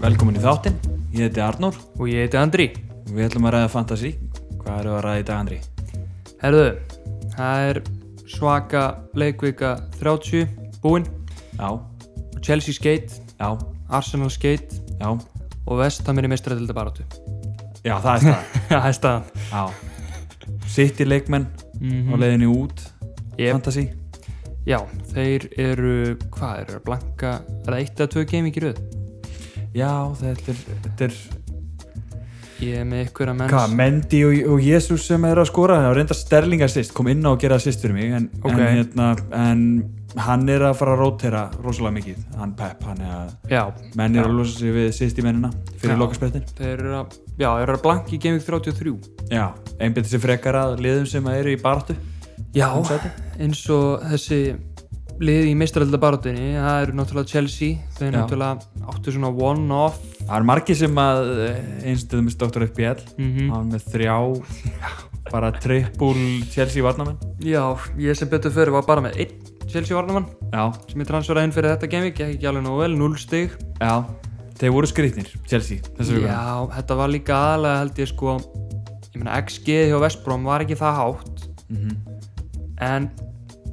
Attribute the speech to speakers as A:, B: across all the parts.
A: Velkomin í þáttinn, ég heiti Arnór
B: Og ég heiti Andri.
A: og við ætlum að ræða fantasy. Hvað eru að ræða í dag, Andri?
B: Herðu, það er svaka leikvika 30 búinn.
A: Já,
B: Chelsea skeitt,
A: já,
B: Arsenal skeitt
A: já,
B: og Vestham er í meistratilda barátu.
A: já, það er staðan.
B: Það er staðan.
A: Já, sitt í leikmenn á leiðinni út,
B: Yep.
A: fantasy.
B: Mhm. Já, þeir eru, hvað eru, að blanka, er það eitt að tvö game ekki röð?
A: Já, þetta er, þetta er
B: Ég er með ykkur að menns.
A: hvað, Mendy og, og Jesus sem er að skora. Það var reynda Sterling assist, kom inn á að gera assist fyrir mig, en,
B: Ok.
A: en, hérna, en hann er að fara að rótera rosalega mikið, hann Pep, hann er að
B: Já,
A: menn er
B: Já.
A: að losa sig við sýst í mennina fyrir
B: Já.
A: lokasprettin.
B: þeir eru að, já, þeir eru að blanka í game week 33.
A: Já, einbætti sér frekar að liðum sem eru í baráttu.
B: Já,
A: Um sæti.
B: eins og þessi lið í meistratilda barátunni, það eru náttúrulega Chelsea, þeir
A: Já.
B: náttúrulega áttu svona one-off
A: Það er margir sem að eh, einstöðum með Dr. FBL
B: mm
A: hann með þrjá bara trippul Chelsea varnamenn
B: Já, ég sem betur fyrir var bara með einn Chelsea varnamann
A: Já,
B: sem ég transferaði inn fyrir þetta genvík, ekki ekki alveg nógu vel, 0 stig
A: já Þeir voru skrýtnir, Chelsea, þessu vikuna
B: Já, þetta var líka aðalega held ég sko ég meina XG hjá Vestbrom var ekki það hátt
A: Mhm.
B: en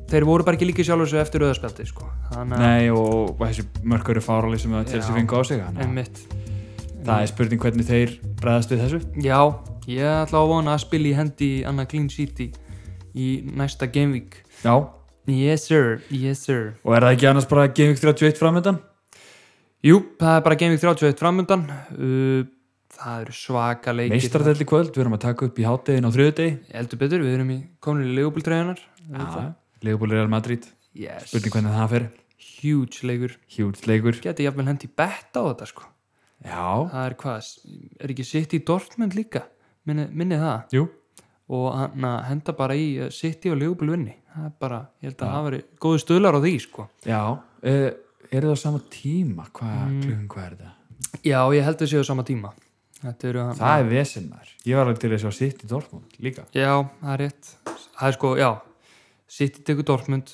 B: þeir voru bara ekki líka sjálfur svo eftir auðarspjaldi sko þannig
A: Nei, og þessi mörgur eru fárali sem að Chelsea
B: Já.
A: fengu á sig þannig að
B: einmitt
A: Það er spurning hvernig þeir bregðast við þessu
B: Já, ég ætla að vona að spila í hendi Anna Clean City í næsta genvík
A: Já, og
B: Yes sir, yes sir
A: er það ekki annars bara Gaming 31 framöndan?
B: Jú, það er bara Game Week 31 framundan uh, Það eru svaka leikir
A: Meistardelli kvöld, við erum að taka upp í háttegin á þriðudegi
B: Eldur betur, við erum í komin í legubildræðunar
A: Leifbúli Real Madrid,
B: yes.
A: spurning hvernig það fer
B: Huge leikur
A: Hjúts leikur
B: Geti jafnvel hendi bett á þetta sko
A: Já,
B: Það er hvað, er ekki sitt í Dortmund líka minni, minni það
A: jú
B: og hann að henda bara í sitt í og legubil vinni það er bara, ég held að það veri góðu stöðlar á því sko
A: Já, uh, eru það á sama tíma? Hvað klukkan hvað er þetta?
B: Já, ég held að séu á sama tíma Þetta eru hann
A: Það er vesinn maður. Ég var alveg til þess að sitt í Dortmund líka.
B: Já, það er rétt Það er sko, já, City tekur Dortmund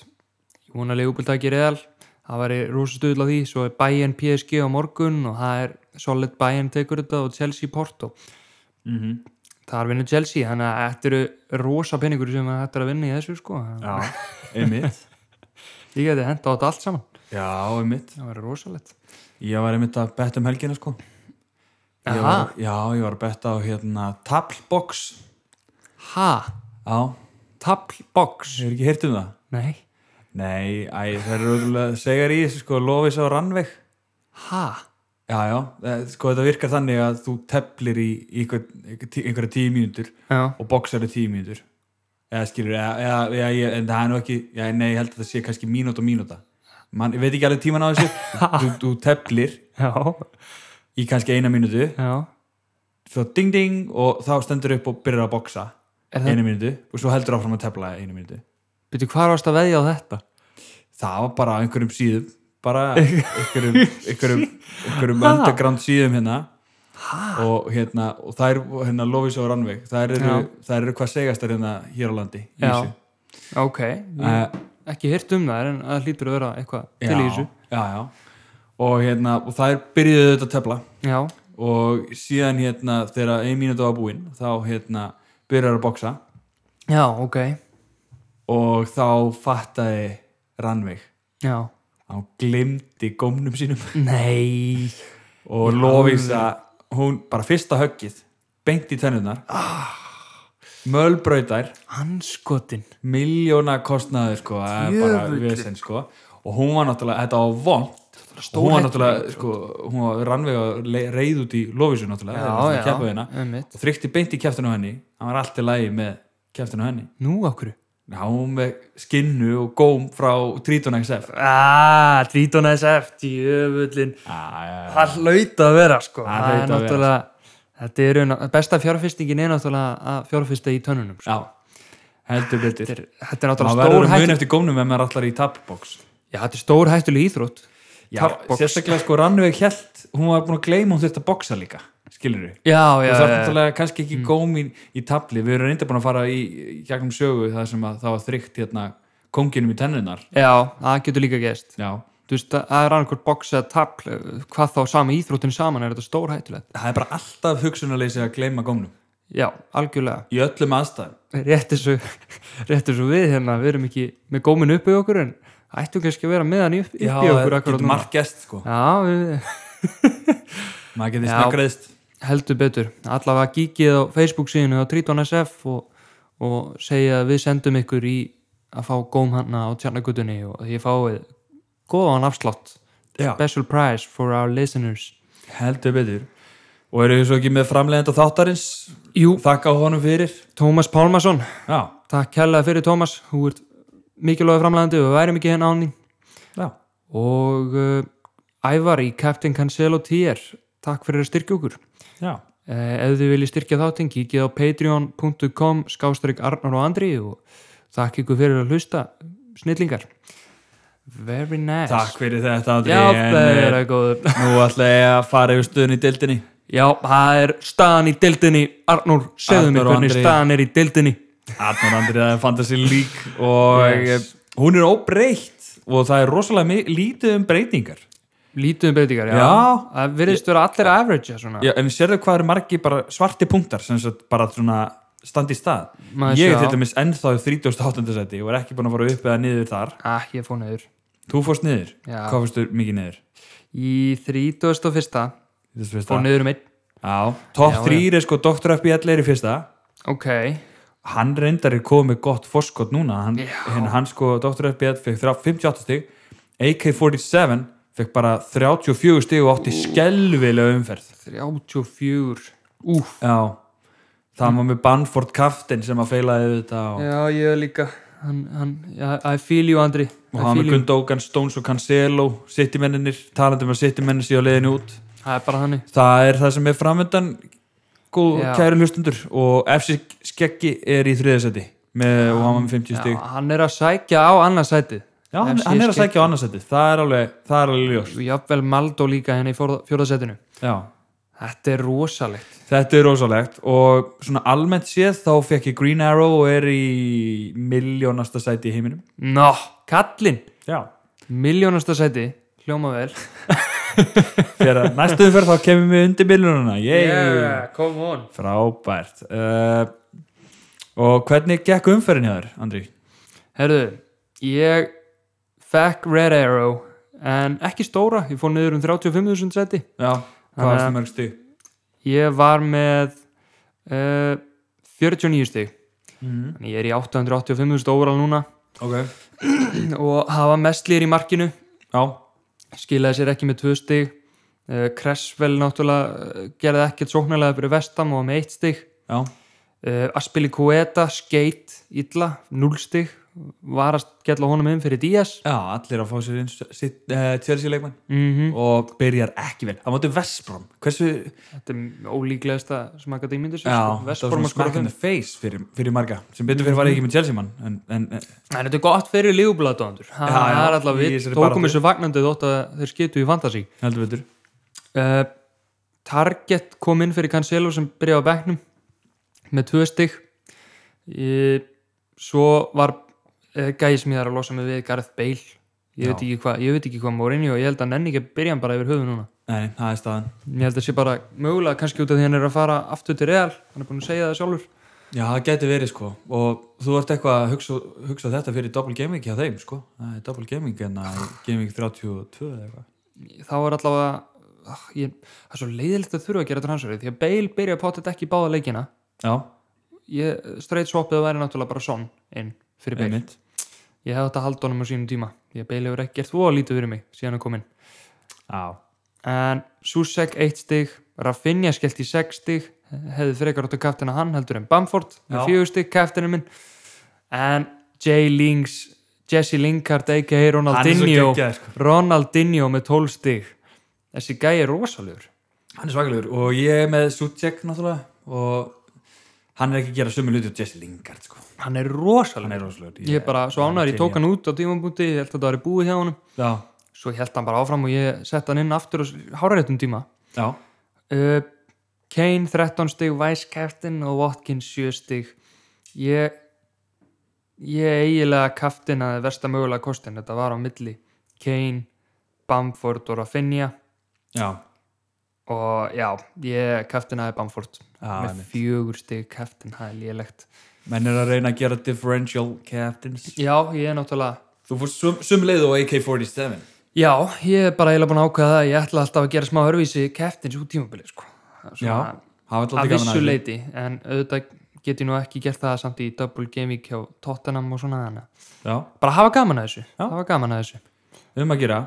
B: Ég vona að Leopold ekki reðal Það væri rosa stuðla því Svo er Bayern PSG á morgun og það er solid Bayern tekur þetta og Chelsea Porto
A: Mm -hmm.
B: Það er vinnu Chelsea, þannig að þetta eru rosa peningur sem þetta er að vinna í þessu sko
A: Já, einmitt.
B: Ég geti henda á þetta allt saman
A: Já, einmitt.
B: Það væri rosalegt
A: Ég var einmitt að betta um helgina sko. Ég
B: Aha.
A: var, já, ég var að betta á hérna tablbox.
B: Ha?
A: Já,
B: Tablbox?
A: hefur ekki heyrt um það?
B: Nei
A: Nei, æ, það eru öðrulega segjar í þessu sko, lofis á rannveg.
B: Ha?
A: Já, já, eh, sko þetta virkar þannig að þú teplir í, í einhver, einhver tí- einhverja tíu mínútur
B: Já
A: og boxar er tíu mínútur eða skilur, eða, eða, eða, eða, en það er nú ekki já, nei, ég held að það sé kannski mínúta og mínúta Man, ég veit ekki alveg tíman á þessu þú, þú teplir
B: Já
A: í kannski eina mínútu
B: Já
A: svo ding ding og þá stendur upp og byrjar að boxa
B: Er það,
A: eina mínútu og svo heldur áfram að tepla eina mínútu
B: byrju, hvað varst að veðja á þetta?
A: það var bara á einhverjum síðum bara einhverjum einhverjum, einhverjum underground síðum hérna og hérna og þær, hérna Lofís og Rannveig þær eru, þær eru hvað segastar hérna hér á landi í
B: Já.
A: þessu.
B: Ok, ég
A: Eh,
B: ekki hirt um það en það hlýtur að vera eitthvað
A: já,
B: til í þessu
A: já, já. og hérna, og þær byrjuðu þetta að tefla
B: já,
A: og síðan hérna þegar ein mínútu var búinn þá hérna byrjar að boksa
B: já, ok
A: og þá fattaði Rannveig
B: já.
A: hann glimti gómnum sínum
B: nei
A: og Lovisa hún bara fyrsta höggið beint í tennunar ah. mölbrautar
B: anskotin
A: miljóna kostnaður sko, það er bara
B: Djöfull.
A: vesen sko og hún var náttúrulega, þetta var vond hún var náttúrulega, sko, hún var rannveg að reyð út í lofísu náttúrulega þegar hún var að keppa við hana.
B: einmitt.
A: og þrykti beint í kæftinu henni hann var allt í lagi með kæftinu henni
B: nú okkur
A: hann var hún með skinnu og góm frá Triton XF
B: aaa, ah, Triton SF djöfullin,
A: ah,
B: það hlaut að vera sko,
A: Það hlaut
B: það
A: að
B: er
A: vera,
B: náttúrulega þetta er ná- besta fjárfestingin er náttúrulega að fjárfesta í tönnunum sko.
A: já, heldur betur
B: þetta, er, þetta er
A: maður
B: náttúrulega
A: verður
B: stór
A: að muna
B: hættuleg
A: eftir gómnum ef maður allar í tapbox
B: já, þetta er stór hættuleg íþrótt
A: já,
B: Tapbox.
A: sérstaklega sko rannveg held hún var búin að gleyma hún þurft að boxa líka skilur
B: já, já,
A: og það er
B: já, já.
A: náttúrulega kannski ekki gómin í tabli við erum reynda búin að fara í í gegnum sögu það sem að það var þrygt hérna konginum í tennunar
B: já, það getur líka gest
A: já,
B: þú veist, það er annarkur box eða tapl, hvað þá sama íþróttin saman er þetta stór hættulegt
A: það er bara alltaf hugsunarleysi að gleyma gómnum
B: já, algjörlega,
A: í öllum aðstæðum
B: rétt eins og rétt eins og við hérna, við erum ekki með gómin upp í okkur en ættum kannski að vera með hann upp, upp
A: já,
B: í okkur
A: getur
B: akkúrat núna.
A: margt gest sko
B: já, við
A: maður getur
B: Já.
A: snakkraðist
B: heldur betur allavega gíkið á Facebook síðinu á Triton SF og, og segja að við sendum ykkur í að fá góm hana á tjarnagutunni og ég fáið góðan afslátt
A: Já.
B: special prize for our listeners
A: heldur betur og eru við svo ekki með framleiðenda þáttarins
B: Jú,
A: þakka honum fyrir
B: Tómas Pálmarsson
A: já,
B: takk kærlega fyrir Tómas, þú ert mikilvæg framlæðandi og við værum ekki hérna án þín
A: já,
B: og uh, Ævar í Captain Cancelo TR takk fyrir að styrkja okkur
A: já
B: Eh, ef þið viljið styrkja þáttinn, kíkið á patreon.com skástrík Arnar og Andri og þakk ykkur fyrir að hlusta snillingar Very nice
A: takk fyrir þetta Andri
B: Já,
A: en,
B: það er
A: eh,
B: að góður
A: nú ætla ég að fara yfir stöðun í deildinni
B: Já, það er staðan í deildinni Arnur, segðu
A: Arnar
B: mig
A: og
B: hvernig
A: Andri.
B: staðan er í deildinni
A: Arnar Andri það er Fantasy League og
B: Yes.
A: eh, hún er óbreytt og það er rosalega mi- lítið um breytingar
B: Lítið um breytingar, já,
A: Já.
B: Það virðist vera allir average svona.
A: já, en sérðu hvað er margi bara svarti punktar sem sagt bara svona standi í stað
B: Maður
A: ég er
B: sjá.
A: til dæmis ennþá í 38. seti og er ekki búin að fara upp eða niður þar
B: Ah, ég fór niður
A: þú fórst niður,
B: Já.
A: hvað fórstu mikið niður
B: Í 31.
A: Þetta er fyrsta.
B: fór niður um einn
A: Já, topp
B: Já, já.
A: þrýr er sko Dr. FBL er í fyrsta
B: Ok,
A: hann reyndar er komið með gott fórskot núna hann,
B: Já.
A: hann, hann sko Dr. FBL fekk þrjá- 58 stig AK47 fekk bara 34 stig og átti skelvilega umferð
B: 34 Úf,
A: Já, það var með Banford Kaftin sem að feilaði þetta og,
B: já ég er líka hann, hann, já, I feel you Andri I
A: og hann
B: feel
A: með
B: you.
A: Gundogan, Stones og Cancelo sittimennir, talandi um að sittimennin séu á leiðinu út
B: Það er bara þannig
A: það er það sem er framöndan góð
B: Já.
A: kæri hlustundur og FC Skeggi er í þriðasæti með, og hann var með 50 stig
B: Já, hann er að sækja á annarsæti
A: Já, hann,
B: FC
A: hann er að
B: Skegg.
A: sækja á annarsæti, það er alveg, það er alveg ljós.
B: Jafnvel Maldó líka henni í fjóðasætinu
A: Já.
B: Þetta er rosalegt
A: Þetta er rosalegt og svona almennt séð þá fekk ég Green Arrow og er í miljónasta sæti í heiminum.
B: Nó, kallinn,
A: Já.
B: miljónasta sæti Hljóma vel
A: Fyrir að næstu umferð þá kemum við undir miljónuna. Yeah.
B: come on
A: Frábært. Uh, og hvernig gekk umferðin hjá þér, Andri?
B: Herðu, ég fekk Red Arrow en ekki stóra, ég fór niður um 35.000 sæti
A: Já. Hvað
B: Þannig
A: varstu
B: að-
A: mörg stig?
B: Ég var með uh, 49 stig
A: Mhm.
B: Þannig Ég er í 885.000 óral núna
A: Ok.
B: og hafa mestlýr í markinu
A: Já.
B: skilaði sér ekki með tvö stig uh, Kressvel náttúrulega uh, gerði ekkert sóknarlega fyrir vestam og var með eitt stig
A: Já.
B: uh, Aspili Kueta, Skate, Ítla núl stig, var að gæla honum inn fyrir Díaz
A: Já, allir að fá sér inn sitt, uh, Chelsea leikmann
B: mm
A: og byrjar ekki vel. Það móti Vestbrom. Hversu,
B: þetta er ólíklegasta sem að gæta ímyndir sér
A: Já,
B: sko.
A: þetta var
B: Vestbrom
A: svona
B: að skora
A: smack in
B: fimm.
A: the face fyrir, fyrir marga sem betur fyrir var ég ekki með Chelsea mann en, en, en
B: en þetta er gott fyrir lífublaðdóðandur það
A: Já, já,
B: er alltaf
A: í
B: við
A: þessari
B: tókum
A: baráttu.
B: þessu vagnandi þótt að þeir skiptu í fantasi
A: heldur betur
B: uh, Target kom inn fyrir Cancelo sem byrjaði á bekknum með tvö stygg uh, svo var uh, gæði sem ég þarf að losa mig við Gareth Bale ég
A: Já.
B: veit, ekki hvað, ég veit ekki hvað Mourinho ég held að hann nenni ekki að byrja hann bara yfir höfu núna
A: Nei, nei, það er staðan
B: ég held að sé bara mögulega kannski út af því hann er að fara aftur til Real hann er búin að segja það sjálfur
A: Já, það getur verið sko og þú ert eitthvað að hugsa, hugsa þetta fyrir double gaming hjá þeim sko það er double gaming en að gaming 32 eða eitthvað
B: þá er allavega ah, ég, það er svo leiðilegt að þurfa að gera transferið því að Bale byrja að potið ekki í báða leikina
A: Já,
B: ég, straight swapið væri náttúrulega bara son inn fyrir Bale
A: einmitt
B: Ég hef þetta halda honum á sínum tíma. Ég beil hefur ekki gert þú að lítið fyrir mig síðan að komin.
A: Já,
B: En Susek 1 stig, Rafinha skellt í 6 stig, hefði frekar áttu kaftina hann heldur en Bamford
A: Já.
B: með 4 stig, kaftinu minn. En Jay Lings, Jesse Lingard, a.k.a. Ronaldinho,
A: geggjaður, sko.
B: Ronaldinho með 12 stig. Þessi gæi er rosalegur.
A: hann er svakalegur og ég er með Sucek náttúrulega og hann er ekki að gera sömu luti og Jesse Lingard sko
B: Hann er rosalegur.
A: hann er rosalur
B: Ég er bara svo ánæður, ég tók hann út á tímabúti, ég held að það var búið hjá honum.
A: Já,
B: Svo held hann bara áfram og ég sett hann inn aftur á hárættum tíma.
A: já,
B: Uh, Kane 13 stig, Vice Captain og Watkins 7 stig ég ég eiginlega kaftin að versta mögulega kostin þetta var á milli Kane, Bamford og Rafinha
A: já,
B: og já, ég keftinæði Bamford
A: Já,
B: með
A: einmitt.
B: fjögur stig keftinæði lélegt
A: menn er að reyna að gera differential captains
B: já, ég er náttúrulega
A: þú fórst sum, sum leið og AK-47
B: já, ég er bara eiginlega búin að ákveða það að ég ætla alltaf að gera smá örvísi keftins út tímabili sko.
A: já, hafa alltaf gaman
B: að vissu
A: þessu.
B: leiti en auðvitað get ég nú ekki gert það samt í double game week hjá Tottenham og svona hana
A: já,
B: bara hafa gaman að þessu, hafa gaman að þessu
A: við höfum að gera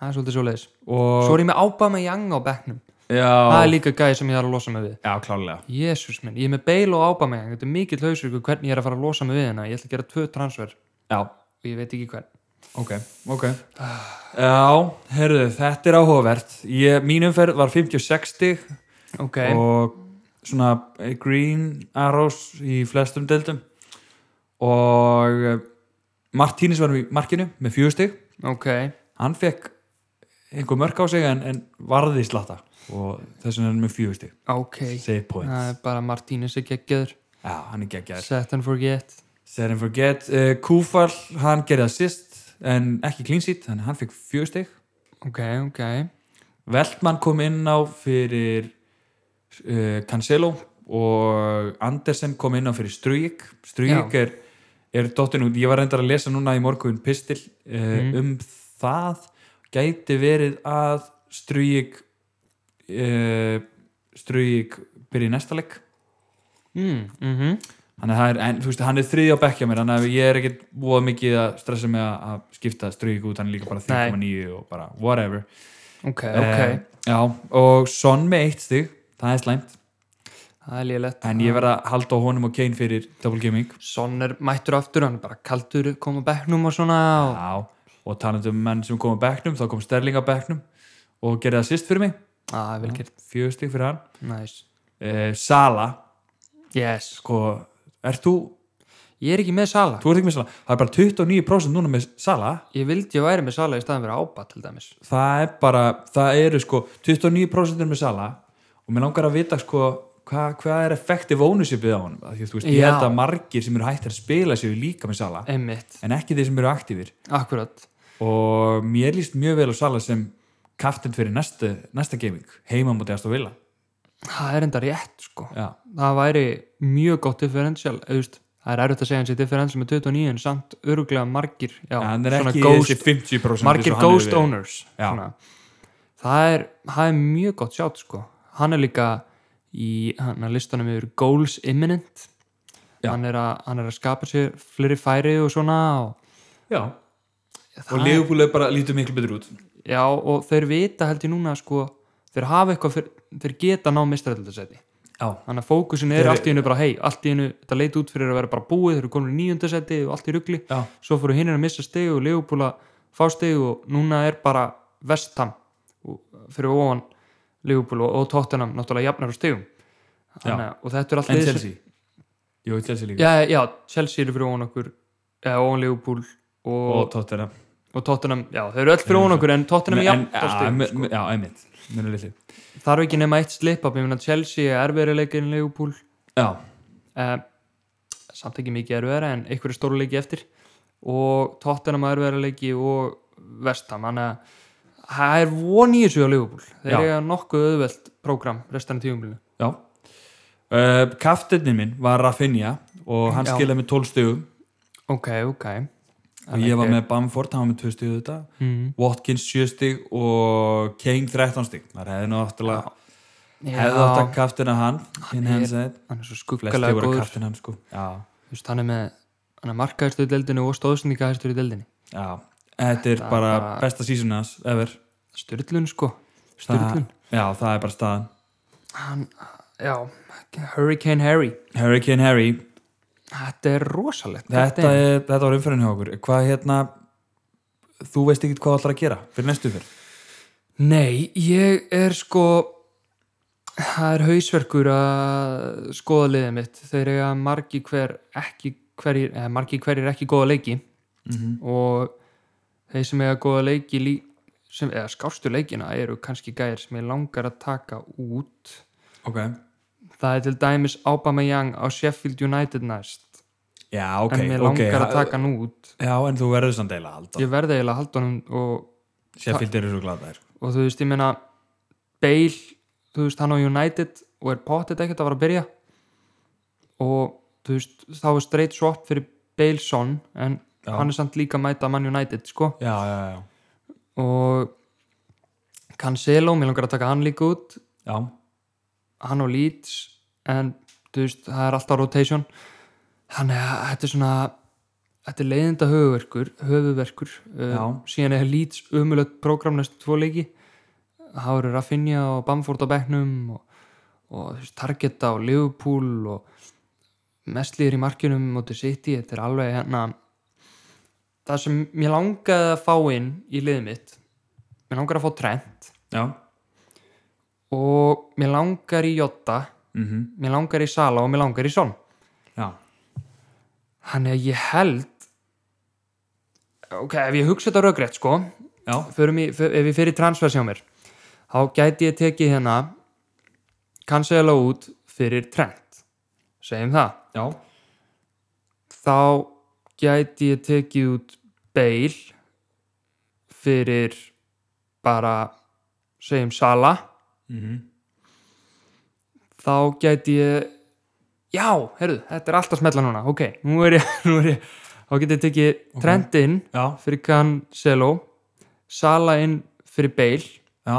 B: það er svolítið svo leiðis
A: og
B: svo er ég með Ábama Young á bekknum það
A: já,
B: er líka gæði sem ég þarf að losa mig við
A: já, klálega
B: Jésús minn, ég er með Bale og Ábama Young þetta er mikill hausur ykkur hvernig ég er að fara að losa mig við hérna ég ætla að gera tvö transfer
A: já,
B: og ég veit ekki hvern
A: Ok, ok Ah. Já, heyrðu, þetta er áhugavert ég, Mín umferð var 50-60 stig
B: ok,
A: og svona eh, green arrows í flestum deildum og eh, Martínez var í markinu með fjögustig
B: ok
A: hann fekk einhver mörk á sig en, en varði slatta og þess vegna er hann með fjögustig
B: ok,
A: save points
B: það er bara Martínez er geggjöður
A: Já, hann er geggjær
B: set and forget
A: Set and forget uh, Kúfal, hann gerði assist en ekki clean sheet, þannig að hann fekk fjögustig
B: ok, ok,
A: Veltmann kom inn á fyrir uh, Cancelo og Andersen kom inn á fyrir Strujik Strujik
B: Já.
A: er, er dottin út, ég var reyndar að lesa núna í morgun pistil uh, um það gæti verið að Strujik uh, Strujik byrja í næsta leik
B: mm, mm
A: Þannig að það er, en, þú veist, hann er þriði á bekkja mér þannig að ég er ekkert búið mikið að stressa mig að, að skipta Strujik út, hann er líka bara 3,9 og bara whatever
B: ok, ok
A: Eh, já, og Son með eitt stig það er slæmt,
B: það er lélegt
A: en ég verð að halda á honum og Kane fyrir Double Gaming
B: Son er mættur aftur, hann er bara kaldur koma á bekknum og svona og...
A: já, og talandum um menn sem kom á bekknum þá kom Sterling á bekknum og gerði það sýst fyrir mig,
B: ah, vel gert,
A: fjögur stig fyrir hann
B: nice
A: eh, Sala,
B: yes,
A: sko ert þú,
B: ég er ekki með Sala
A: þú ert ekki með Sala það er bara 29% núna með Sala
B: ég vildi að væri með Sala í staðan fyrir ába til dæmis
A: það er bara, það eru sko 29% er með Sala og mér langar að vita sko hva, hvað er effektiv ownershipið á honum Af því, að, þú veist, ég
B: Já.
A: held að margir sem eru hættir að spila séu líka með Sala
B: einmitt,
A: en ekki þeir sem eru aktífir
B: akkurat
A: og mér líst mjög vel á Sala sem kaftin fyrir næsta, næsta gaming heima mútið að stóðvila
B: það er enda rétt sko
A: já,
B: það væri mjög gott differential eðust, það er erfitt að segja hans í differential með 29 en samt öruglega margir já,
A: hann er
B: svona
A: ekki
B: ghost,
A: þessi 50%
B: margir
A: eins og hann hefur
B: ghost
A: verið.
B: owners
A: Já.
B: það er, það er mjög gott sjátt sko hann er líka í hann er listanum yfir goals imminent
A: Já.
B: hann er, að, hann er að skapa sér fleiri færi og svona og,
A: já,
B: það
A: og
B: er-
A: legupúlega bara lítur miklu betur út
B: já, og þeir vita held ég núna sko, þeir hafa eitthvað þeir, þeir geta ná mistræðildasæti
A: já,
B: þannig að fókusin er
A: Þeir-
B: allt í hennu bara hei, allt í hennu, þetta leit út fyrir að vera bara búið þeir eru komin í nýjöndasetti og allt í ruggli
A: já,
B: svo fóru hinn að missa stegu og Leopold að fá stegu og núna er bara vestam fyrir ofan Leopold og, og Tottenham náttúrulega jafnar á stegum Þannig, að- og þetta er allt
A: en
B: lið sem-
A: Chelsea jú, Chelsea líka
B: já, já, Chelsea eru fyrir ofan okkur eða ofan Leopold
A: og
B: og, og,
A: Tottenham
B: Tottenham, já, þeir eru öll fyrir ofan okkur en Tottenham
A: en,
B: jafnar á
A: já,
B: stegum
A: me- me- já, einmitt Mjög litli.
B: þarf ekki nema eitt slip up, ég meina Chelsea er erfiðrileikir en Leopold
A: já,
B: uh, samt ekki mikið erfiðara en einhverju stóru leiki eftir og Tottenham erfiðara leiki og Vestham, þannig að það er von í þessu á Liverpool þeir
A: Já.
B: eiga nokkuð auðvelt prógram restan af tíumbilinu
A: já uh, kaftinni minn var Rafinha og hann
B: Já.
A: skilaði með 12 stugum
B: ok, ok
A: og ég var með Bamford, hann var með 2 stugu þetta
B: mm,
A: Watkins 7 stig og Kane 13 stig það hefði náttúrulega hefði átt að
B: já,
A: kaftina hann hinn
B: er-
A: henn sett
B: hann er svo
A: flesti
B: skuggalega
A: voru að
B: góður
A: kaftina hann sko já,
B: Just, hann er með hann er markaðistur í deildinu og stóðsendingaðistur í deildinu
A: já. þetta er
B: Þetta
A: bara
B: bara-
A: besta season hans ever
B: styrlun sko
A: það,
B: styrlun
A: já, það er bara staðan
B: hann, já, Hurricane Harry
A: Hurricane Harry
B: þetta er rosalegt
A: þetta, er, þetta var umferðin hjá okkur hvað hérna þú veist ekki hvað allar að gera fyrir næstu fyrr
B: Nei, ég er sko það er hausverkur að skoða liðið mitt þeir eiga margi hver ekki hverjir, eða margi hverjir ekki góða leiki
A: Mhm.
B: og þeir sem eiga góða leiki lí, sem, eða skástu leikina eru kannski gæðir sem ég langar að taka út
A: ok
B: það er til dæmis Aubameyang á Sheffield United næst
A: já, ok
B: en mér
A: ok.
B: langar
A: Ha-
B: að taka hann út
A: já, en þú verður samt deila alltaf
B: ég verði eiginlega að halda honum og
A: Sheffield eru svo glataðir sko.
B: og þú veist, ég meina Bale, þú veist, hann á United og er pottet ekkert að fara að byrja og þú veist þá er straight swap fyrir Bale son en
A: Já.
B: hann er samt líka að mæta Man United sko
A: já, já, já,
B: og Cancelo, mér langar að taka hann líka út
A: já
B: hann á Leeds en þú veist, það er alltaf rotation þannig að þetta er svona þetta er leiðinda höfuverkur höfuverkur, Um,
A: Já.
B: síðan er Leeds umulögt prógram næstu tvo leiki það eru Rafinha og Bamford á bekknum og, og þú veist, Targeta og Liverpool og mestlýðir í markinum mútið City, þetta er alveg hérna það sem mér langaði að fá inn í liðið mitt mér langar að fá Trent
A: já,
B: og mér langar í Jota
A: mhm,
B: mér langar í Sala og mér langar í Son
A: já
B: hann er ég held ok, ef ég hugsa þetta röggrétt sko
A: já,
B: förum í, för, ef ég fyrir transfers hjá mér þá gæti ég tekið hérna Cancelo út fyrir Trent segjum það
A: já,
B: þá gæti ég tekið út Bale fyrir bara segjum Sala
A: mhm,
B: þá gæti ég já, herru, þetta er alltaf smetla núna ok, nú er ég, nú er ég þá geti ég tekið Trent inn
A: já,
B: fyrir Cancelo Sala inn fyrir Bale
A: já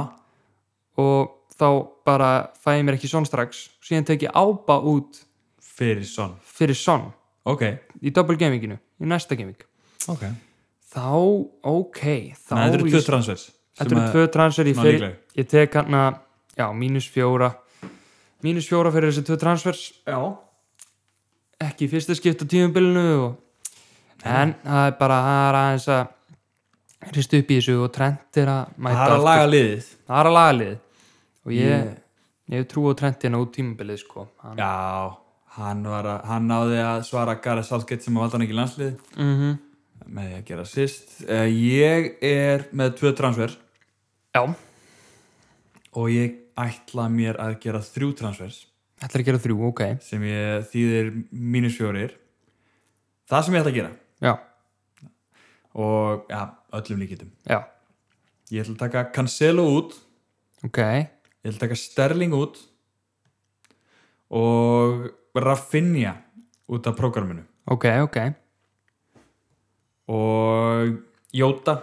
B: og þá bara fæ ég mér ekki Son strax síðan tek ég Ába út
A: fyrir son,
B: fyrir Son
A: ok
B: í double gaminginu, í næsta gaming
A: ok,
B: þá, ok þá
A: Nei, þetta eru tvö
B: lýst-
A: transfers sem
B: þetta eru
A: að-
B: tvö transfer ég,
A: svona
B: fyrir,
A: líkleg.
B: ég tek hann að, já, mínus fjóra mínus fjóra fyrir þessi tvö transfers
A: já,
B: ekki í fyrsta skipt á tímabilinu og... en það er bara það er aðeins að hrist upp í þessu og trend er að
A: það er
B: mæta
A: að
B: aftur.
A: laga liðið
B: það er að laga lið og ég,
A: Yeah.
B: ég hef trú á trendina út tímabilið sko. hann,
A: já, hann var að hann náði að svara Gareth Southgate sem að valda hann ekki í landslið
B: mm
A: með því að gera sýst uh, ég er með tvö transfer
B: já,
A: og ég ætla mér að gera þrjú transfers
B: þetta er að gera þrjú, ok
A: sem ég þýðir mínus fjórir það sem ég ætla að gera
B: já,
A: og ja, öllum líkitum
B: já,
A: ég ætla að taka Cancelo út
B: ok
A: ég ætla að taka Sterling út og Rafinha út af prógraminu
B: ok, ok,
A: og Jota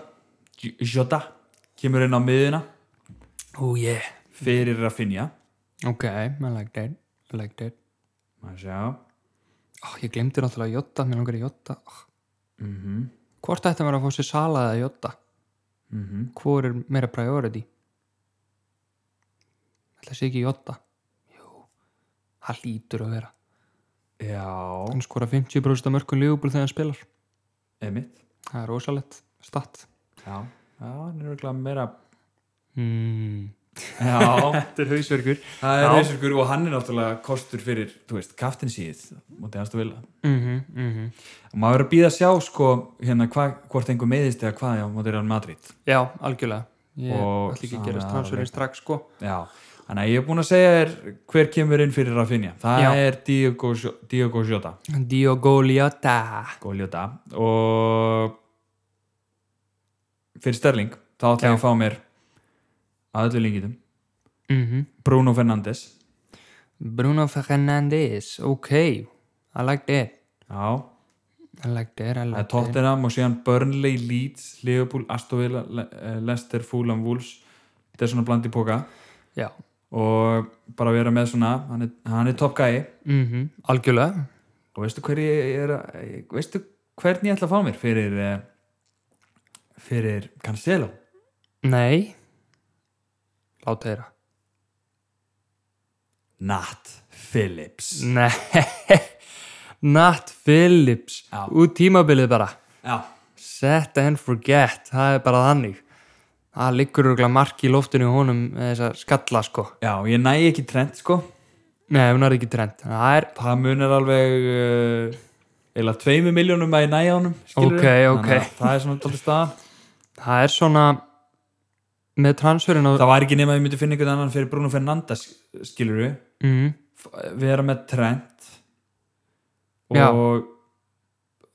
A: J- Jota kemur inn á miðina
B: oh yeah
A: fyrir Rafinha
B: ok, I like that, I like that
A: maður sjá
B: oh, ég glemdi náttúrulega Jota, mér langar í Jota oh.
A: mhm
B: hvort ætti maður að fá sér Sala eða Jota
A: mhm.
B: hvor er meira priority ætla að sé ekki Jota jú, það lítur að vera
A: já,
B: hann skora 50% af mörgum lífbúl þegar hann spilar
A: emitt
B: það er rosalett, statt
A: já, já, hann er örugglega meira
B: mm.
A: já,
B: þetta er hausverkur
A: það er
B: Já.
A: reysirkur og hann er náttúrulega kostur fyrir, þú veist, kaftinsíð mútið hans þú vilja
B: mm -hmm, mm -hmm.
A: og maður verður að býða að sjá sko hérna hva, hvort einhver meðist eða hvað já, mútið er hann Madrid
B: já, algjörlega ég
A: Og
B: ætla ekki
A: Sala
B: að gerast transferinn
A: alveg.
B: strax sko
A: já, þannig að ég er búin að segja þér hver kemur inn fyrir Rafinha það
B: Já.
A: er Diogo, Jo- Diogo Jota
B: Diogo Liotta
A: Góljota og fyrir Sterling þá ætla ég
B: Já.
A: að fá mér að öllu lengitum
B: mm
A: Bruno Fernandes
B: Bruno Fernandes ok, I like that
A: já,
B: I like that, I
A: það
B: like
A: er Tottenham og síðan Burnley, Leeds, Liverpool, Aston Villa Le- eh, Leicester, Fulham, Wolves þetta er svona bland í póka
B: that já,
A: og bara vera með svona hann er, hann er top guy
B: mm algjörlega
A: og veistu hver ég er að- ég- veistu hvern ég ætla að fá mér fyrir eh, fyrir Cancelo
B: Nei Láta þeirra
A: Nat
B: Mm.
A: Phillips
B: Nei Nat Phillips
A: Já.
B: Út tímabilið bara
A: já,
B: Set and forget, það er bara þannig Það liggur örgulega mark í loftinu í honum með þessa skalla sko
A: já ég næ ekki trend sko
B: Nei, hún er ekki trend Það er,
A: það munar alveg uh, eila tveimu miljónum að ég næja honum skilurðu?
B: Ok, ok.
A: Þannig að það er svona tóttist staða
B: það er svona með transferin á
A: það var ekki nema að ég myndi finna einhvern annan fyrir Bruno Fernandes skilur við
B: mm,
A: vera með Trent
B: Já.
A: og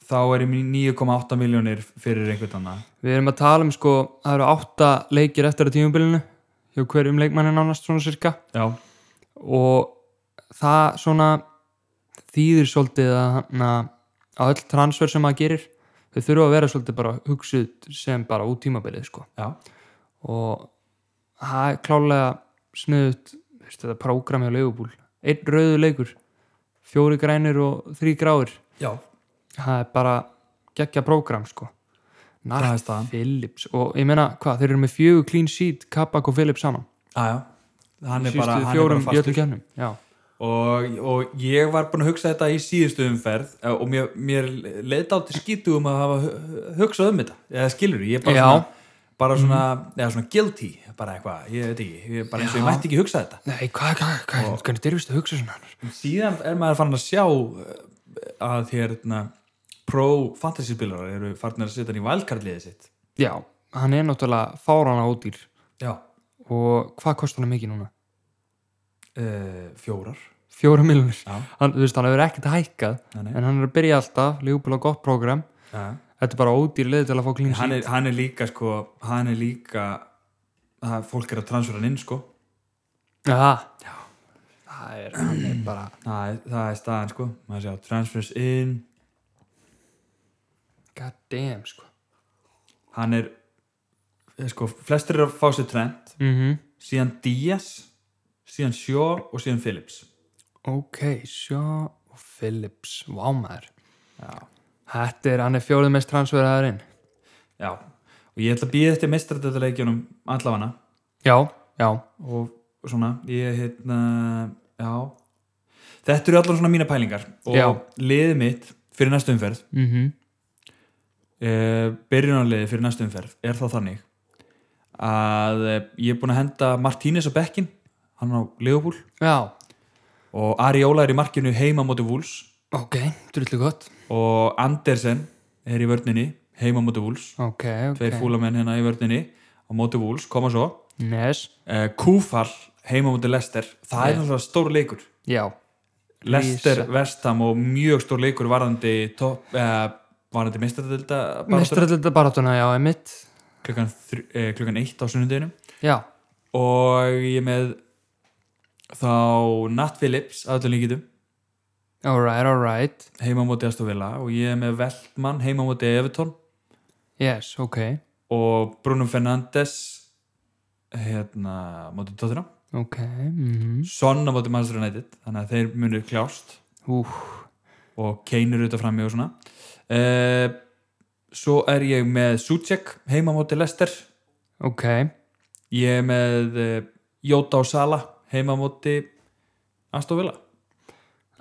A: þá er ég með 9,8 miljónir fyrir einhvern annan
B: Við erum að tala um sko, það eru átta leikir eftir að tímubilinu hjá hverjum leikmanni nánast svona cirka
A: já,
B: og það svona þýðir svolítið að, að, að öll transfer sem maður gerir þau þurfa að vera svolítið bara hugsuð sem bara út tímabilið sko
A: já,
B: og það er klálega snuðut veist, þetta prógram hjá leigubúl einn rauðu leikur, fjóri grænir og þrý gráir
A: já.
B: það er bara geggja prógram sko
A: Það er
B: Nart
A: staðan.
B: Phillips og ég meina hvað, þeir eru með fjögur clean sheet Kabak og Phillips saman
A: já, já. Hann, er
B: Síðustu
A: bara, hann er bara
B: fjórum í
A: fastur
B: öllum keppnum. Já.
A: og, og ég var búin að hugsa þetta í síðustu umferð eh, og mér, mér leiði á til skítu um að hafa hu- hugsað um þetta eða skilur, ég er bara
B: Já.
A: svona, bara svona, eða svona guilty bara eitthvað, ég veit ekki, ég er bara eins og ég
B: Já.
A: mætti ekki hugsa þetta
B: Nei, hvað, hvað, hvað, hvernig dyrfist að hugsa svona
A: síðan er maður farin að sjá eh, að hérna pro fantasy spilarar eru farin að setja hann í valkarliðið sitt
B: Já, hann er náttúrulega fárana ódýr
A: já,
B: og hvað kostar hann mikið núna?
A: uh, fjórar
B: Fjóra miljonir
A: Já.
B: hann, Þú veist, hann hefur ekkert hækkað
A: Nei, nei.
B: en hann er að byrja alltaf, lífbúlega gott program
A: já.
B: Þetta er bara ódýr leið til að fá klín
A: Hann,
B: sín
A: er, hann er líka sko, hann er líka það, fólk er að transfera hann inn sko
B: Já, það er, hann er bara
A: það er, það er staðan sko maður sjá transfers in
B: God damn, sko
A: hann er eh, sko, flestir eru að fá sér trend
B: mm
A: síðan Díaz síðan Shaw og síðan Phillips
B: Ok, Shaw og Phillips Vámaður
A: já,
B: Þetta er, hann er fjórið mest transferaðarinn
A: já. og ég ætla að býða eftir mestradöðuleikjunum allafana
B: Já, já,
A: og svona ég hérna já þetta eru allar svona mína pælingar og
B: Já.
A: liðið mitt fyrir næstu umferð
B: mhm
A: e, byrjunarliðið fyrir næstu umferð er það þannig að eh, ég er búin að henda Martínez á bekkin hann er á Leopold
B: Já,
A: og Ariola er í markinu heima móti Wools
B: ok, drullu gott
A: og Andersen er í vörninni heima móti Wools
B: Ok, ok
A: tveir fúlamenn hérna í vörninni á móti Wools, koma svo
B: Nes,
A: e, Kúfall heima móti Lester það er náttúrulega stór leikur
B: já
A: Lester,
B: Rísa.
A: Vestam og mjög stór leikur varðandi top, uh, varðandi mistaradelda
B: Mestrarölda barátuna, já, emitt
A: klukkan, uh, klukkan eitt á sunnundinu
B: Já,
A: og ég er með þá Nat Phillips aðallum líkitum
B: alright, alright
A: heima á móti Astovilla og ég er með Veltmann heima á móti Evertón
B: Yes, ok,
A: og Bruno Fernandes hérna á móti Tottenham
B: ok mm
A: Son á móti Manchester United þannig að þeir munu kljást
B: Úf,
A: og Kane er auðvitað frammi og svona uh, svo er ég með Suchek heima á móti Lester
B: ok
A: ég er með uh, Jóta og Sala heima á móti Aston Villa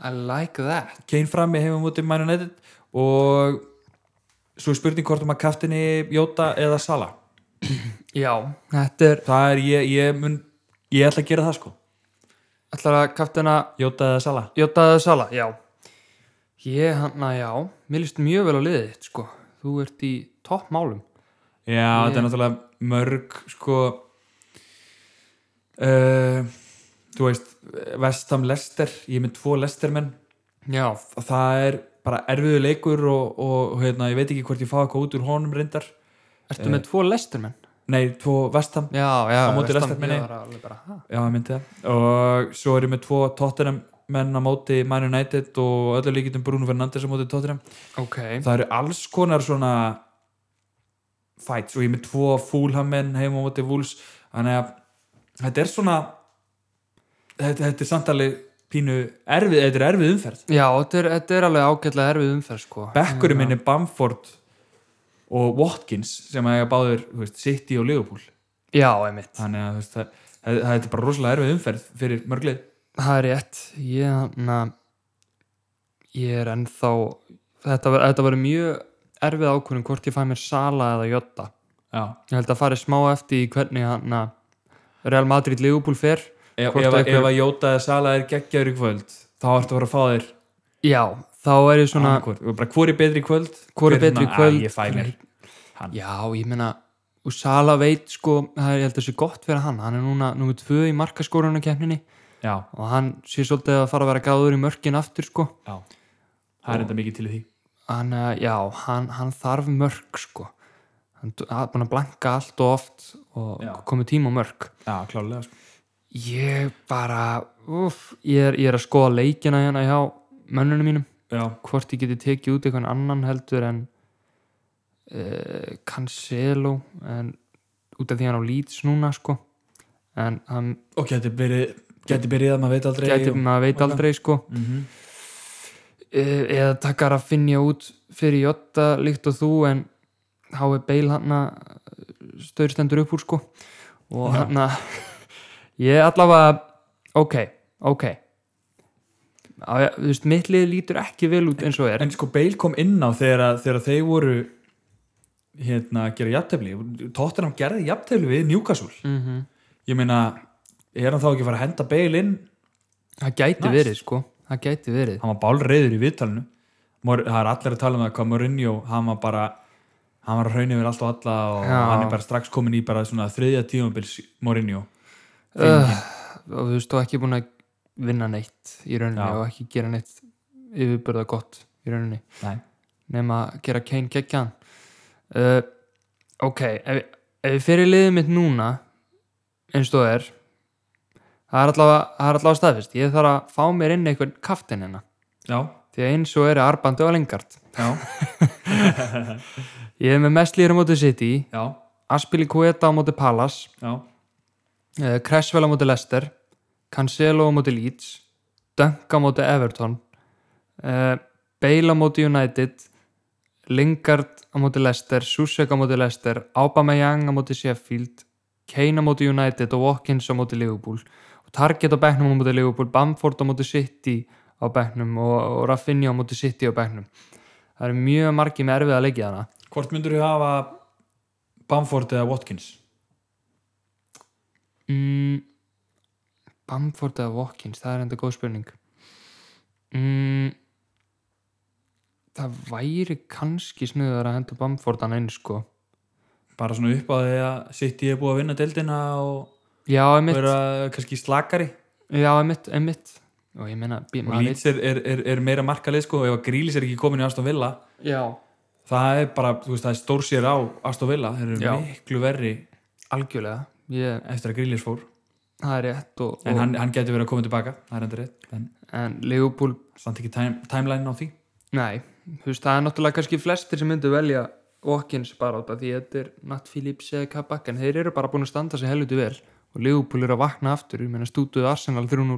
B: I like that
A: Kane frammi heima á móti Man United og svo er spurning hvort um að kaftinni Jóta eða Sala
B: Já, þetta er
A: það er ég, ég mun ég ætla að gera það sko,
B: allar að kaftina
A: Jóta eða Sala
B: Jótaðið Sala, já Ég, hann, að já, mér líst mjög vel á liðið þitt, sko Þú ert í toppmálum
A: já, þetta er náttúrulega mörg sko uh, þú veist Vestam Lester, ég er með tvo Lestermenn
B: Já,
A: það er bara erfiðu leikur og, og hérna, ég veit ekki hvort ég fá eitthvað út úr honum reyndar
B: ertu með tvo lesturmenn?
A: Nei, tvo vestam
B: Eh. Já, já,
A: Á móti
B: Vestam-
A: Lestermenni.
B: ég var alveg bara, ha.
A: Já, ég myndi það Og svo er ég með tvo Tottenham menn á móti Man United og öllu líkitum Bruno Fernandes á móti Tottenham
B: Ok,
A: Það eru alls konar svona fights og ég er með tvo Fulham menn heim á móti Wolves Þannig að þetta er svona þetta, þetta er samtali pínu erfið, þetta er erfið umferð
B: já, þetta er, þetta er alveg ágætlega erfið umferð, sko
A: Bekkurinn minn er Bamford og Watkins sem að ég báður þú veist, City og Liverpool
B: Já, einmitt
A: Þannig að þú veist, það, það, það er bara rosalega erfið umferð fyrir mörglið
B: Það er rétt ég, na, ég er ennþá þetta, var- þetta var mjög erfið ákvörðum hvort ég fæ mér Sala eða Jota
A: Já
B: ég held að fari smá eftir í hvernig hann að Real Madrid Liverpool fer
A: ef,
B: Hvort
A: ef,
B: einhver-
A: ef að Jóta eða Sala er geggjaður í kvöld þá ertu að vera að fá þér
B: já, þá er ég svona
A: annaðhvort. Og bara hvori betri í kvöld
B: Hvor er
A: Hver
B: betri í
A: svona,
B: kvöld?
A: "Ah, ég fæ mér hann
B: já, ég meina og Sala veit sko, það er, ég held að sé gott fyrir hann hann er núna nummið tvö í markaskórunarkeppninni
A: já,
B: og hann sé svolítið að fara að vera gáður í mörkin aftur sko
A: já, það er enda mikið til í því
B: hann, eh, já, hann, hann þarf mörg sko hann er búin að blanka allt og oft og
A: Já.
B: komið tíma á mörg
A: Já, klálega sko.
B: ég bara uff, ég, er, ég er að skoða leikina hérna hjá mönnunum mínum
A: Já,
B: hvort ég geti tekið út eitthvað annan heldur en uh, Cancelo en út af því hann á Leeds núna sko en hann
A: og geti byrjið geti byrjið að maður veit aldrei
B: gæti,
A: og...
B: maður veit aldrei sko
A: mm
B: Eh, eða takkar að finja út fyrir Jota líkt og þú en H.E. Bale hann stauðstendur upp úr sko og
A: Já.
B: hann að ég allavega ok, ok Á, ja, þú veist, mitt lið lítur ekki vel út eins og er
A: en sko Bale kom inn á þegar, að- þegar þeir voru hérna að gera jafntefli Tottenham gerði jafntefli við Newcastle
B: mm
A: Mhm. ég meina, er hann þá ekki að fara að henda Bale inn
B: það gæti
A: Nice.
B: verið sko það gæti verið
A: hann var bálreiður í viðtalinu Mor, það er allir að tala um það hvað Mourinho hann var bara hann var að hraun yfir allt og alla og
B: Já.
A: hann er bara strax komin í bara svona þriðja tímabils Mourinho
B: uh, og þú veist, þú ekki búin að vinna neitt í rauninni
A: Já.
B: og ekki gera neitt yfirbörða gott í rauninni
A: Nei.
B: nema að gera Kane geggjan uh, ok ef, ef við fyrir liðið mitt núna eins og það er það er allavega, það er allavega staðfist ég þarf að fá mér inn einhvern kaftin hérna
A: já,
B: því að eins og er arbandi á lengart
A: já,
B: ég er með mest líður á móti City
A: já,
B: Aspili Kueta á móti Palace
A: já
B: uh, Cresswell á móti Leicester Cancelo á móti Leeds Dunk á móti Everton uh, Bale á móti United Lingard á móti Leicester Susek á móti Leicester Aubameyang á móti Sheffield Kane á móti United og Watkins á móti Liverpool og Target á bekknum á móti Liverpool Bamford á móti City á bekknum og, og Rafinha á móti City á bekknum það eru mjög margi með erfið að leggja þarna
A: hvort myndur þú hafa Bamford eða Watkins
B: mm, Bamford eða Watkins það er enda góð spurning mm, það væri kannski snuður að henda Bamford hann inn sko
A: bara svona upp á því að City er búið að vinna deildina og
B: já, einmitt,
A: vera kannski slakari
B: já, einmitt, einmitt. og ég meina bí-
A: og
B: maður
A: Leeds er, er, er, er meira markalið sko og ef að Grílis er ekki komin í Aston Villa
B: veit- já,
A: það er bara, þú veist, það er stór sér á Aston Villa, þeir eru
B: Já.
A: miklu verri
B: algjörlega ég,
A: eftir að Grílis fór
B: það er rétt og, og,
A: en hann, hann getur verið að koma tilbaka það er endur rétt, en
B: en Leopold,
A: samt ekki time, timeline á því
B: nei þú veist, það er náttúrulega kannski flestir sem myndu velja Watkins bara út af því þetta er Nat Phillips eða Kabak en þeir eru bara búin að standa sig helviti vel og Leopold eru að vakna aftur ég meina stútuðu Arsenal 3-0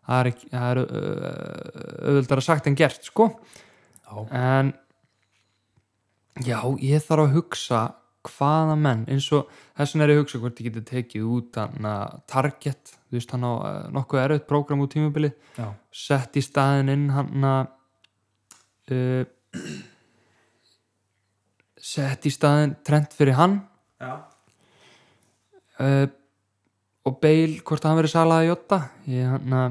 B: það er, ekki- það er uh, auðvöldar að sagt en gert sko
A: já,
B: en já, ég þarf að hugsa hvaða menn, eins og þessan er ég að hugsa hvort ég geti tekið út hann að target, þú veist hann á eh, nokkuð erfitt prógram út tímabilið
A: já,
B: sett í staðin inn hann að uh, sett í staðin trend fyrir hann
A: já.
B: uh, og Bale hvort hann verið salaði Jota ég hann að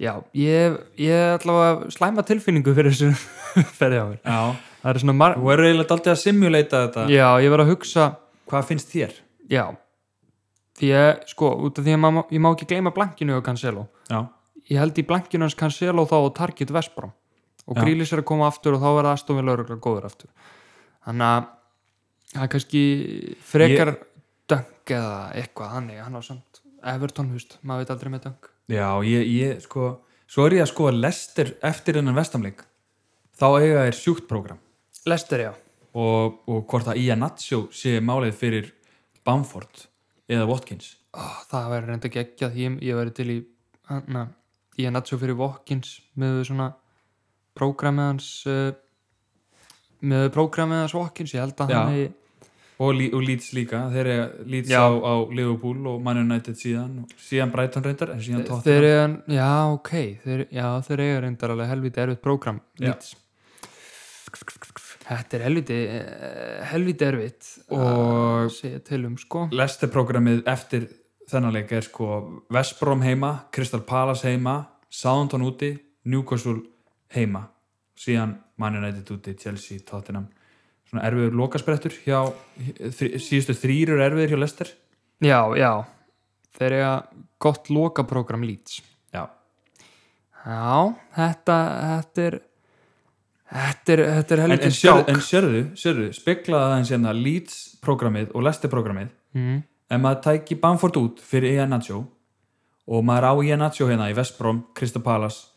B: já, ég ég er allavega slæma tilfinningu fyrir þessu ferði á mér það er svona mar
A: þú eru eiginlega daldið að simulata þetta
B: já, ég var að hugsa
A: hvað finnst þér?
B: já, því ég sko, út af því að ma- ég má ekki gleyma blankinu og Cancelo
A: já,
B: ég held í blankinu hans Cancelo þá og Target Vespram og
A: Já.
B: Grílis er að koma aftur og þá verða Aston Villa öruglega góður aftur þannig að það er kannski frekar döng eða eitthvað þannig, hann á samt Everton, húst, maður veit aldrei með döng
A: já, ég, ég sko svo er ég að sko að lestir eftir innan vestamleik þá eiga er sjúkt prógram
B: Lester, já,
A: og, og hvort að Ian Natsjó sé málið fyrir Bamford eða Watkins
B: Ó, það væri reynda geggjað því ég verði til í hana, ég er natt svo fyrir Walkins með svona prógramið hans uh, með prógramið hans Walkins, ég held að
A: Já.
B: hann hegi
A: og, Lí- og Leeds líka, þeir eru Leeds
B: Já.
A: á, á Liverpool og Man United síðan og síðan Brighton reyndar en síðan Tottenham
B: þeir eiga, já ok þeir, já, þeir eiga reyndar alveg helviti erfitt prógram
A: Já.
B: Leeds. þetta er helviti eh, helviti erfitt
A: Og-
B: að segja til um sko
A: Leicester-programmið eftir þennan leik er sko Vestbrom heima, Crystal Palace heima Southampton úti, Newcastle heima, síðan Man United úti, Chelsea, Tottenham svona erfiður lokasprettur hjá þri, síðustu þrýrur erfiður hjá Leicester
B: já, já, þeir eiga gott loka prógram lít
A: Já,
B: já, þetta, þetta er Þetta er, þetta er
A: en,
B: helviti
A: en, sér,
B: skák
A: en sérðu, sérðu, speklaði aðeins hérna Leeds-programmið og Leicester-programmið
B: mm.
A: en maður tæki Bamford út fyrir Ian Nacho og maður á Ian Nacho hérna í Vestbrom, Crystal Palace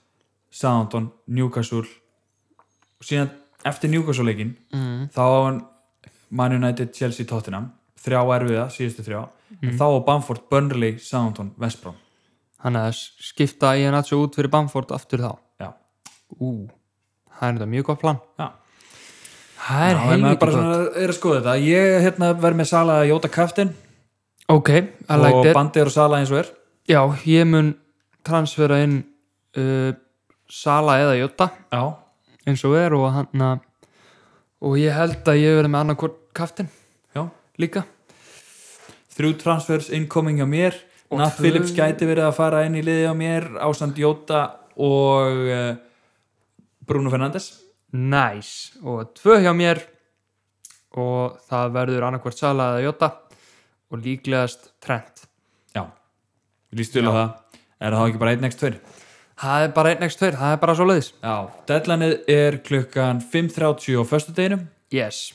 A: Southampton, Newcastle og síðan eftir Newcastle-leikin
B: Mm.
A: þá á hann Man United, Chelsea, Tottenham þrjá erfiða, síðustu þrjá
B: Mhm.
A: en þá á Bamford, Burnley, Southampton, Vestbrom
B: Hann að skipta Ian Atsu út fyrir Bamford aftur þá
A: já,
B: Ú, það er þetta mjög gott plan
A: já
B: Það er
A: Já, en maður
B: helviti
A: bara
B: gott
A: svona er að skoða þetta ég hérna, verð með Sala að jóta kaftin
B: Ok, I like
A: og
B: that
A: bandir og Sala eins og er
B: Já, ég mun transfera inn uh, Sala eða Jota
A: já,
B: eins og er og hann að og ég held að ég verði með annarkort kaftin
A: já
B: líka
A: þrjú transfers incoming hjá mér
B: Og
A: Nath
B: tvö-
A: Phillips gæti verið að fara inn í liði hjá mér Ásand Jóta og uh, Bruno Fernandes
B: Nice, og tvö hjá mér og það verður annarkvort Sala eða Jota og líklegast Trent
A: já, lístu til á það er það ekki bara 1x2
B: Það er bara 1x2, það er bara svo leiðis
A: já, deadlineið er klukkan 5.30 á föstudeginum
B: Yes,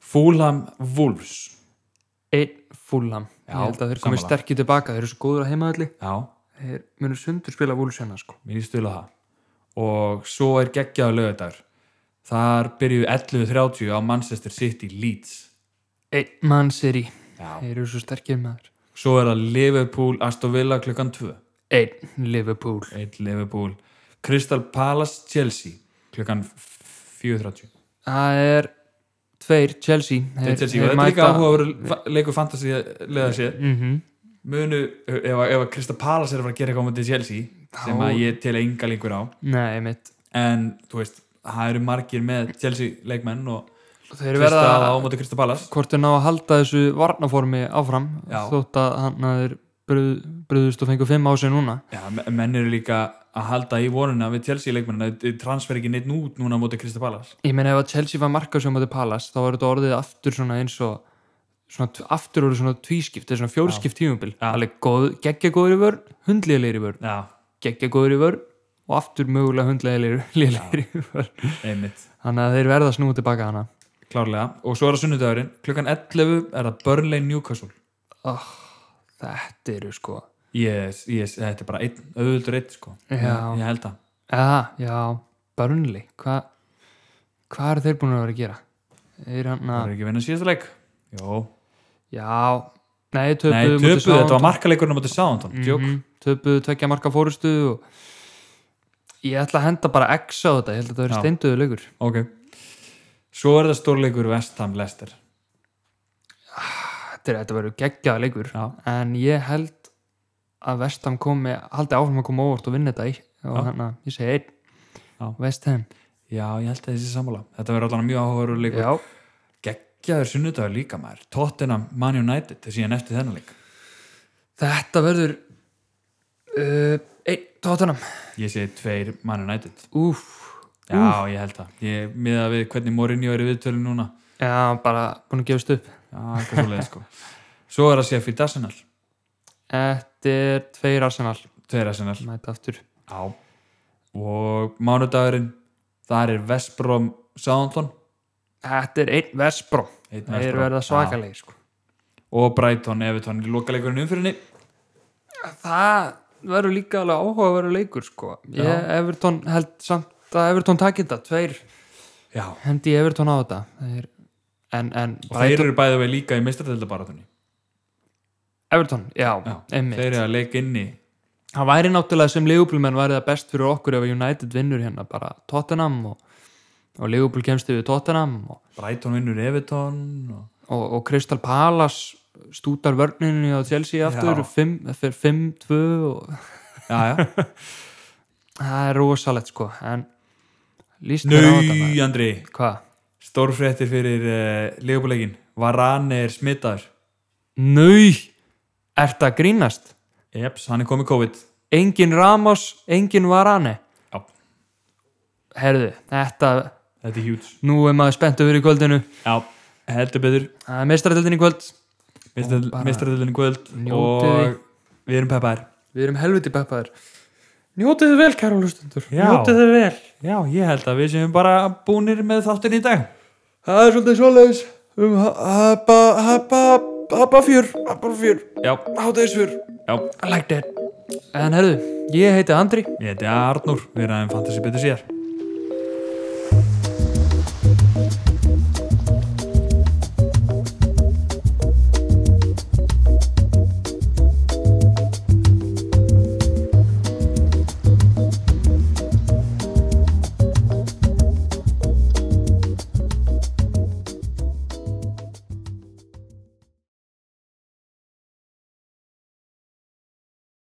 A: Fulham Wolves
B: einn fúllam Ég
A: Já,
B: held að þeir komið
A: sammála.
B: sterkir tilbaka, þeir eru svo góður að heimaðalli
A: já,
B: Þeir munur sundur spila vúls hennar sko
A: mér lístu til á það og svo er geggjaðu lögudagur þar byrjuðu 11.30 á Manchester City Leeds
B: Einn mann sér í,
A: já.
B: þeir eru svo sterkir maður
A: svo er það Liverpool Aston Villa klukkan 2
B: Einn Liverpool
A: Eitt Liverpool Crystal Palace Chelsea klukkan 4.30
B: Það er tveir Chelsea
A: Þetta er Chelsea og þetta er líka áhuga að vera leikur fantasy leða sér
B: mm
A: munu ef, ef að Crystal Palace er að fara að gera eitthvað á mútið Chelsea sem að ég tel enga lengur á
B: Nei, mitt
A: en þú veist það eru margir með Chelsea leikmenn og
B: Þeir
A: Crystal
B: verða
A: á mútið Crystal Palace
B: hvort þeir ná að halda þessu varnaformi áfram
A: Já.
B: þótt að hann að þeir bröð, bröðust og fengu fimm á sig núna
A: Já, men- menn eru líka að halda í vonuna við Chelsea leikmenn að þið transfer ekki neitt út núna á mútið Crystal Palace
B: ég meina ef að Chelsea var markasjóma til Palace þá var þetta orðið aftur svona eins og svona, t- aftur orðið svona tvískipt eða svona fjórskipt tímubil alveg góð, geggja góður í vörn, hundliðilegir í vörn
A: Já,
B: geggja góður í vörn og aftur mögulega hundliðilegir í vörn
A: einmitt
B: þannig að þeir verða að snúa tilbaka hana
A: Klárlega, og svo er það sunnudagurinn klukkan 11 er það Burnley Newcastle
B: oh, þetta eru sko
A: Yes, yes, þetta er bara einn, auðvöldur einn sko.
B: Já.
A: Ég held að
B: Já, já, Burnley hvað hva eru þeir búin að vera að gera? Þeir hann
A: Það
B: að
A: er ekki að vinna síðasta leik Jó,
B: Já, nei, töpuðu
A: nei,
B: móti
A: töpuð,
B: Southampton.
A: þetta var markaleikurinn á móti Southampton mm -hmm.
B: Mhm, Töpuðu tvekja marka fórustu og ég ætla að henda bara X á þetta, ég held að þetta
A: Já.
B: verið steinduðu leikur
A: Ok Svo er það stórleikur Vestham Lester
B: Þetta, er- þetta verið geggjaða leikur
A: Já.
B: en ég held að Vestham komi, haldi áfram að koma óvart og vinna þetta í og hann að, ég segi einn
A: Já.
B: Vestham,
A: Já, ég held að þessi sammála Þetta verður allan mjög áhugaður leikur
B: já,
A: Geggjaður sunnudagur líka maður Tottenham Man United þessi en eftir þennan leik
B: þetta verður uh, einn, tóttanam
A: Ég segi tveir Man United
B: Úf,
A: Já, ég held að Ég miða við hvernig Mourinho er í viðtölu núna
B: Já, bara búin að gefast upp
A: Já, eitthvað svo sko Svo er það Sheffield Arsenal
B: Þetta er tveir Arsenal
A: Tveir Arsenal
B: Mæta aftur
A: Já Og mánudagurinn Þar er Vestbrom Southampton
B: Þetta er einn Vespró
A: Einn
B: Það er
A: West Brom.
B: verða svakalegi sko.
A: Og Brighton Everton í lokaleikurinn umfyrinni
B: Það verður líka alveg áhuga að vera leikur sko. Ég, Everton held samt að Everton takir þetta Tveir
A: Já
B: hendi ég Everton á þetta Það er, En, en
A: Og þeir eru bæðið við líka í meistardildabaratunni
B: Everton, já, einmitt
A: Þeir eru að leika inni
B: Það væri náttúrulega sem leigublumenn væri það best fyrir okkur ef United vinnur hérna bara Tottenham og, og leigubl kemst yfir Tottenham og
A: Brighton vinnur Everton og...
B: og, og Crystal Palace stútar vörninni á Chelsea aftur
A: Já.
B: 5-2 og
A: Já, já
B: það er rosalegt sko en líst mér á þetta
A: Nau,
B: maður.
A: Andri
B: hvað?
A: Stórfréttir fyrir uh, leikupleikin Varane er smitaður
B: Nau, ert að grínast
A: Jeps, hann er komið COVID
B: engin Ramos, engin Varane
A: Já,
B: herðu, þetta
A: þetta er hjúts
B: nú er maður spenntu fyrir kvöldinu
A: Já, heldur betur
B: það er meistratöldin í kvöld bara
A: Meistardildin kvöld
B: njótið
A: og við erum peppar
B: við erum helviti peppaðir Njótið þið vel, kæra hlustundur.
A: Já.
B: Njótið þið vel.
A: Já, ég held að við séum bara búnir með þáttin í dag.
B: Það er svolítið svoleiðis um hapa, hapa, hapa fjör, hapa fjör,
A: Já,
B: hátegisfjör.
A: já,
B: I like that. En herðu, ég heiti Andri.
A: ég heiti Arnur, við erum aðeins fantasy betur síðar.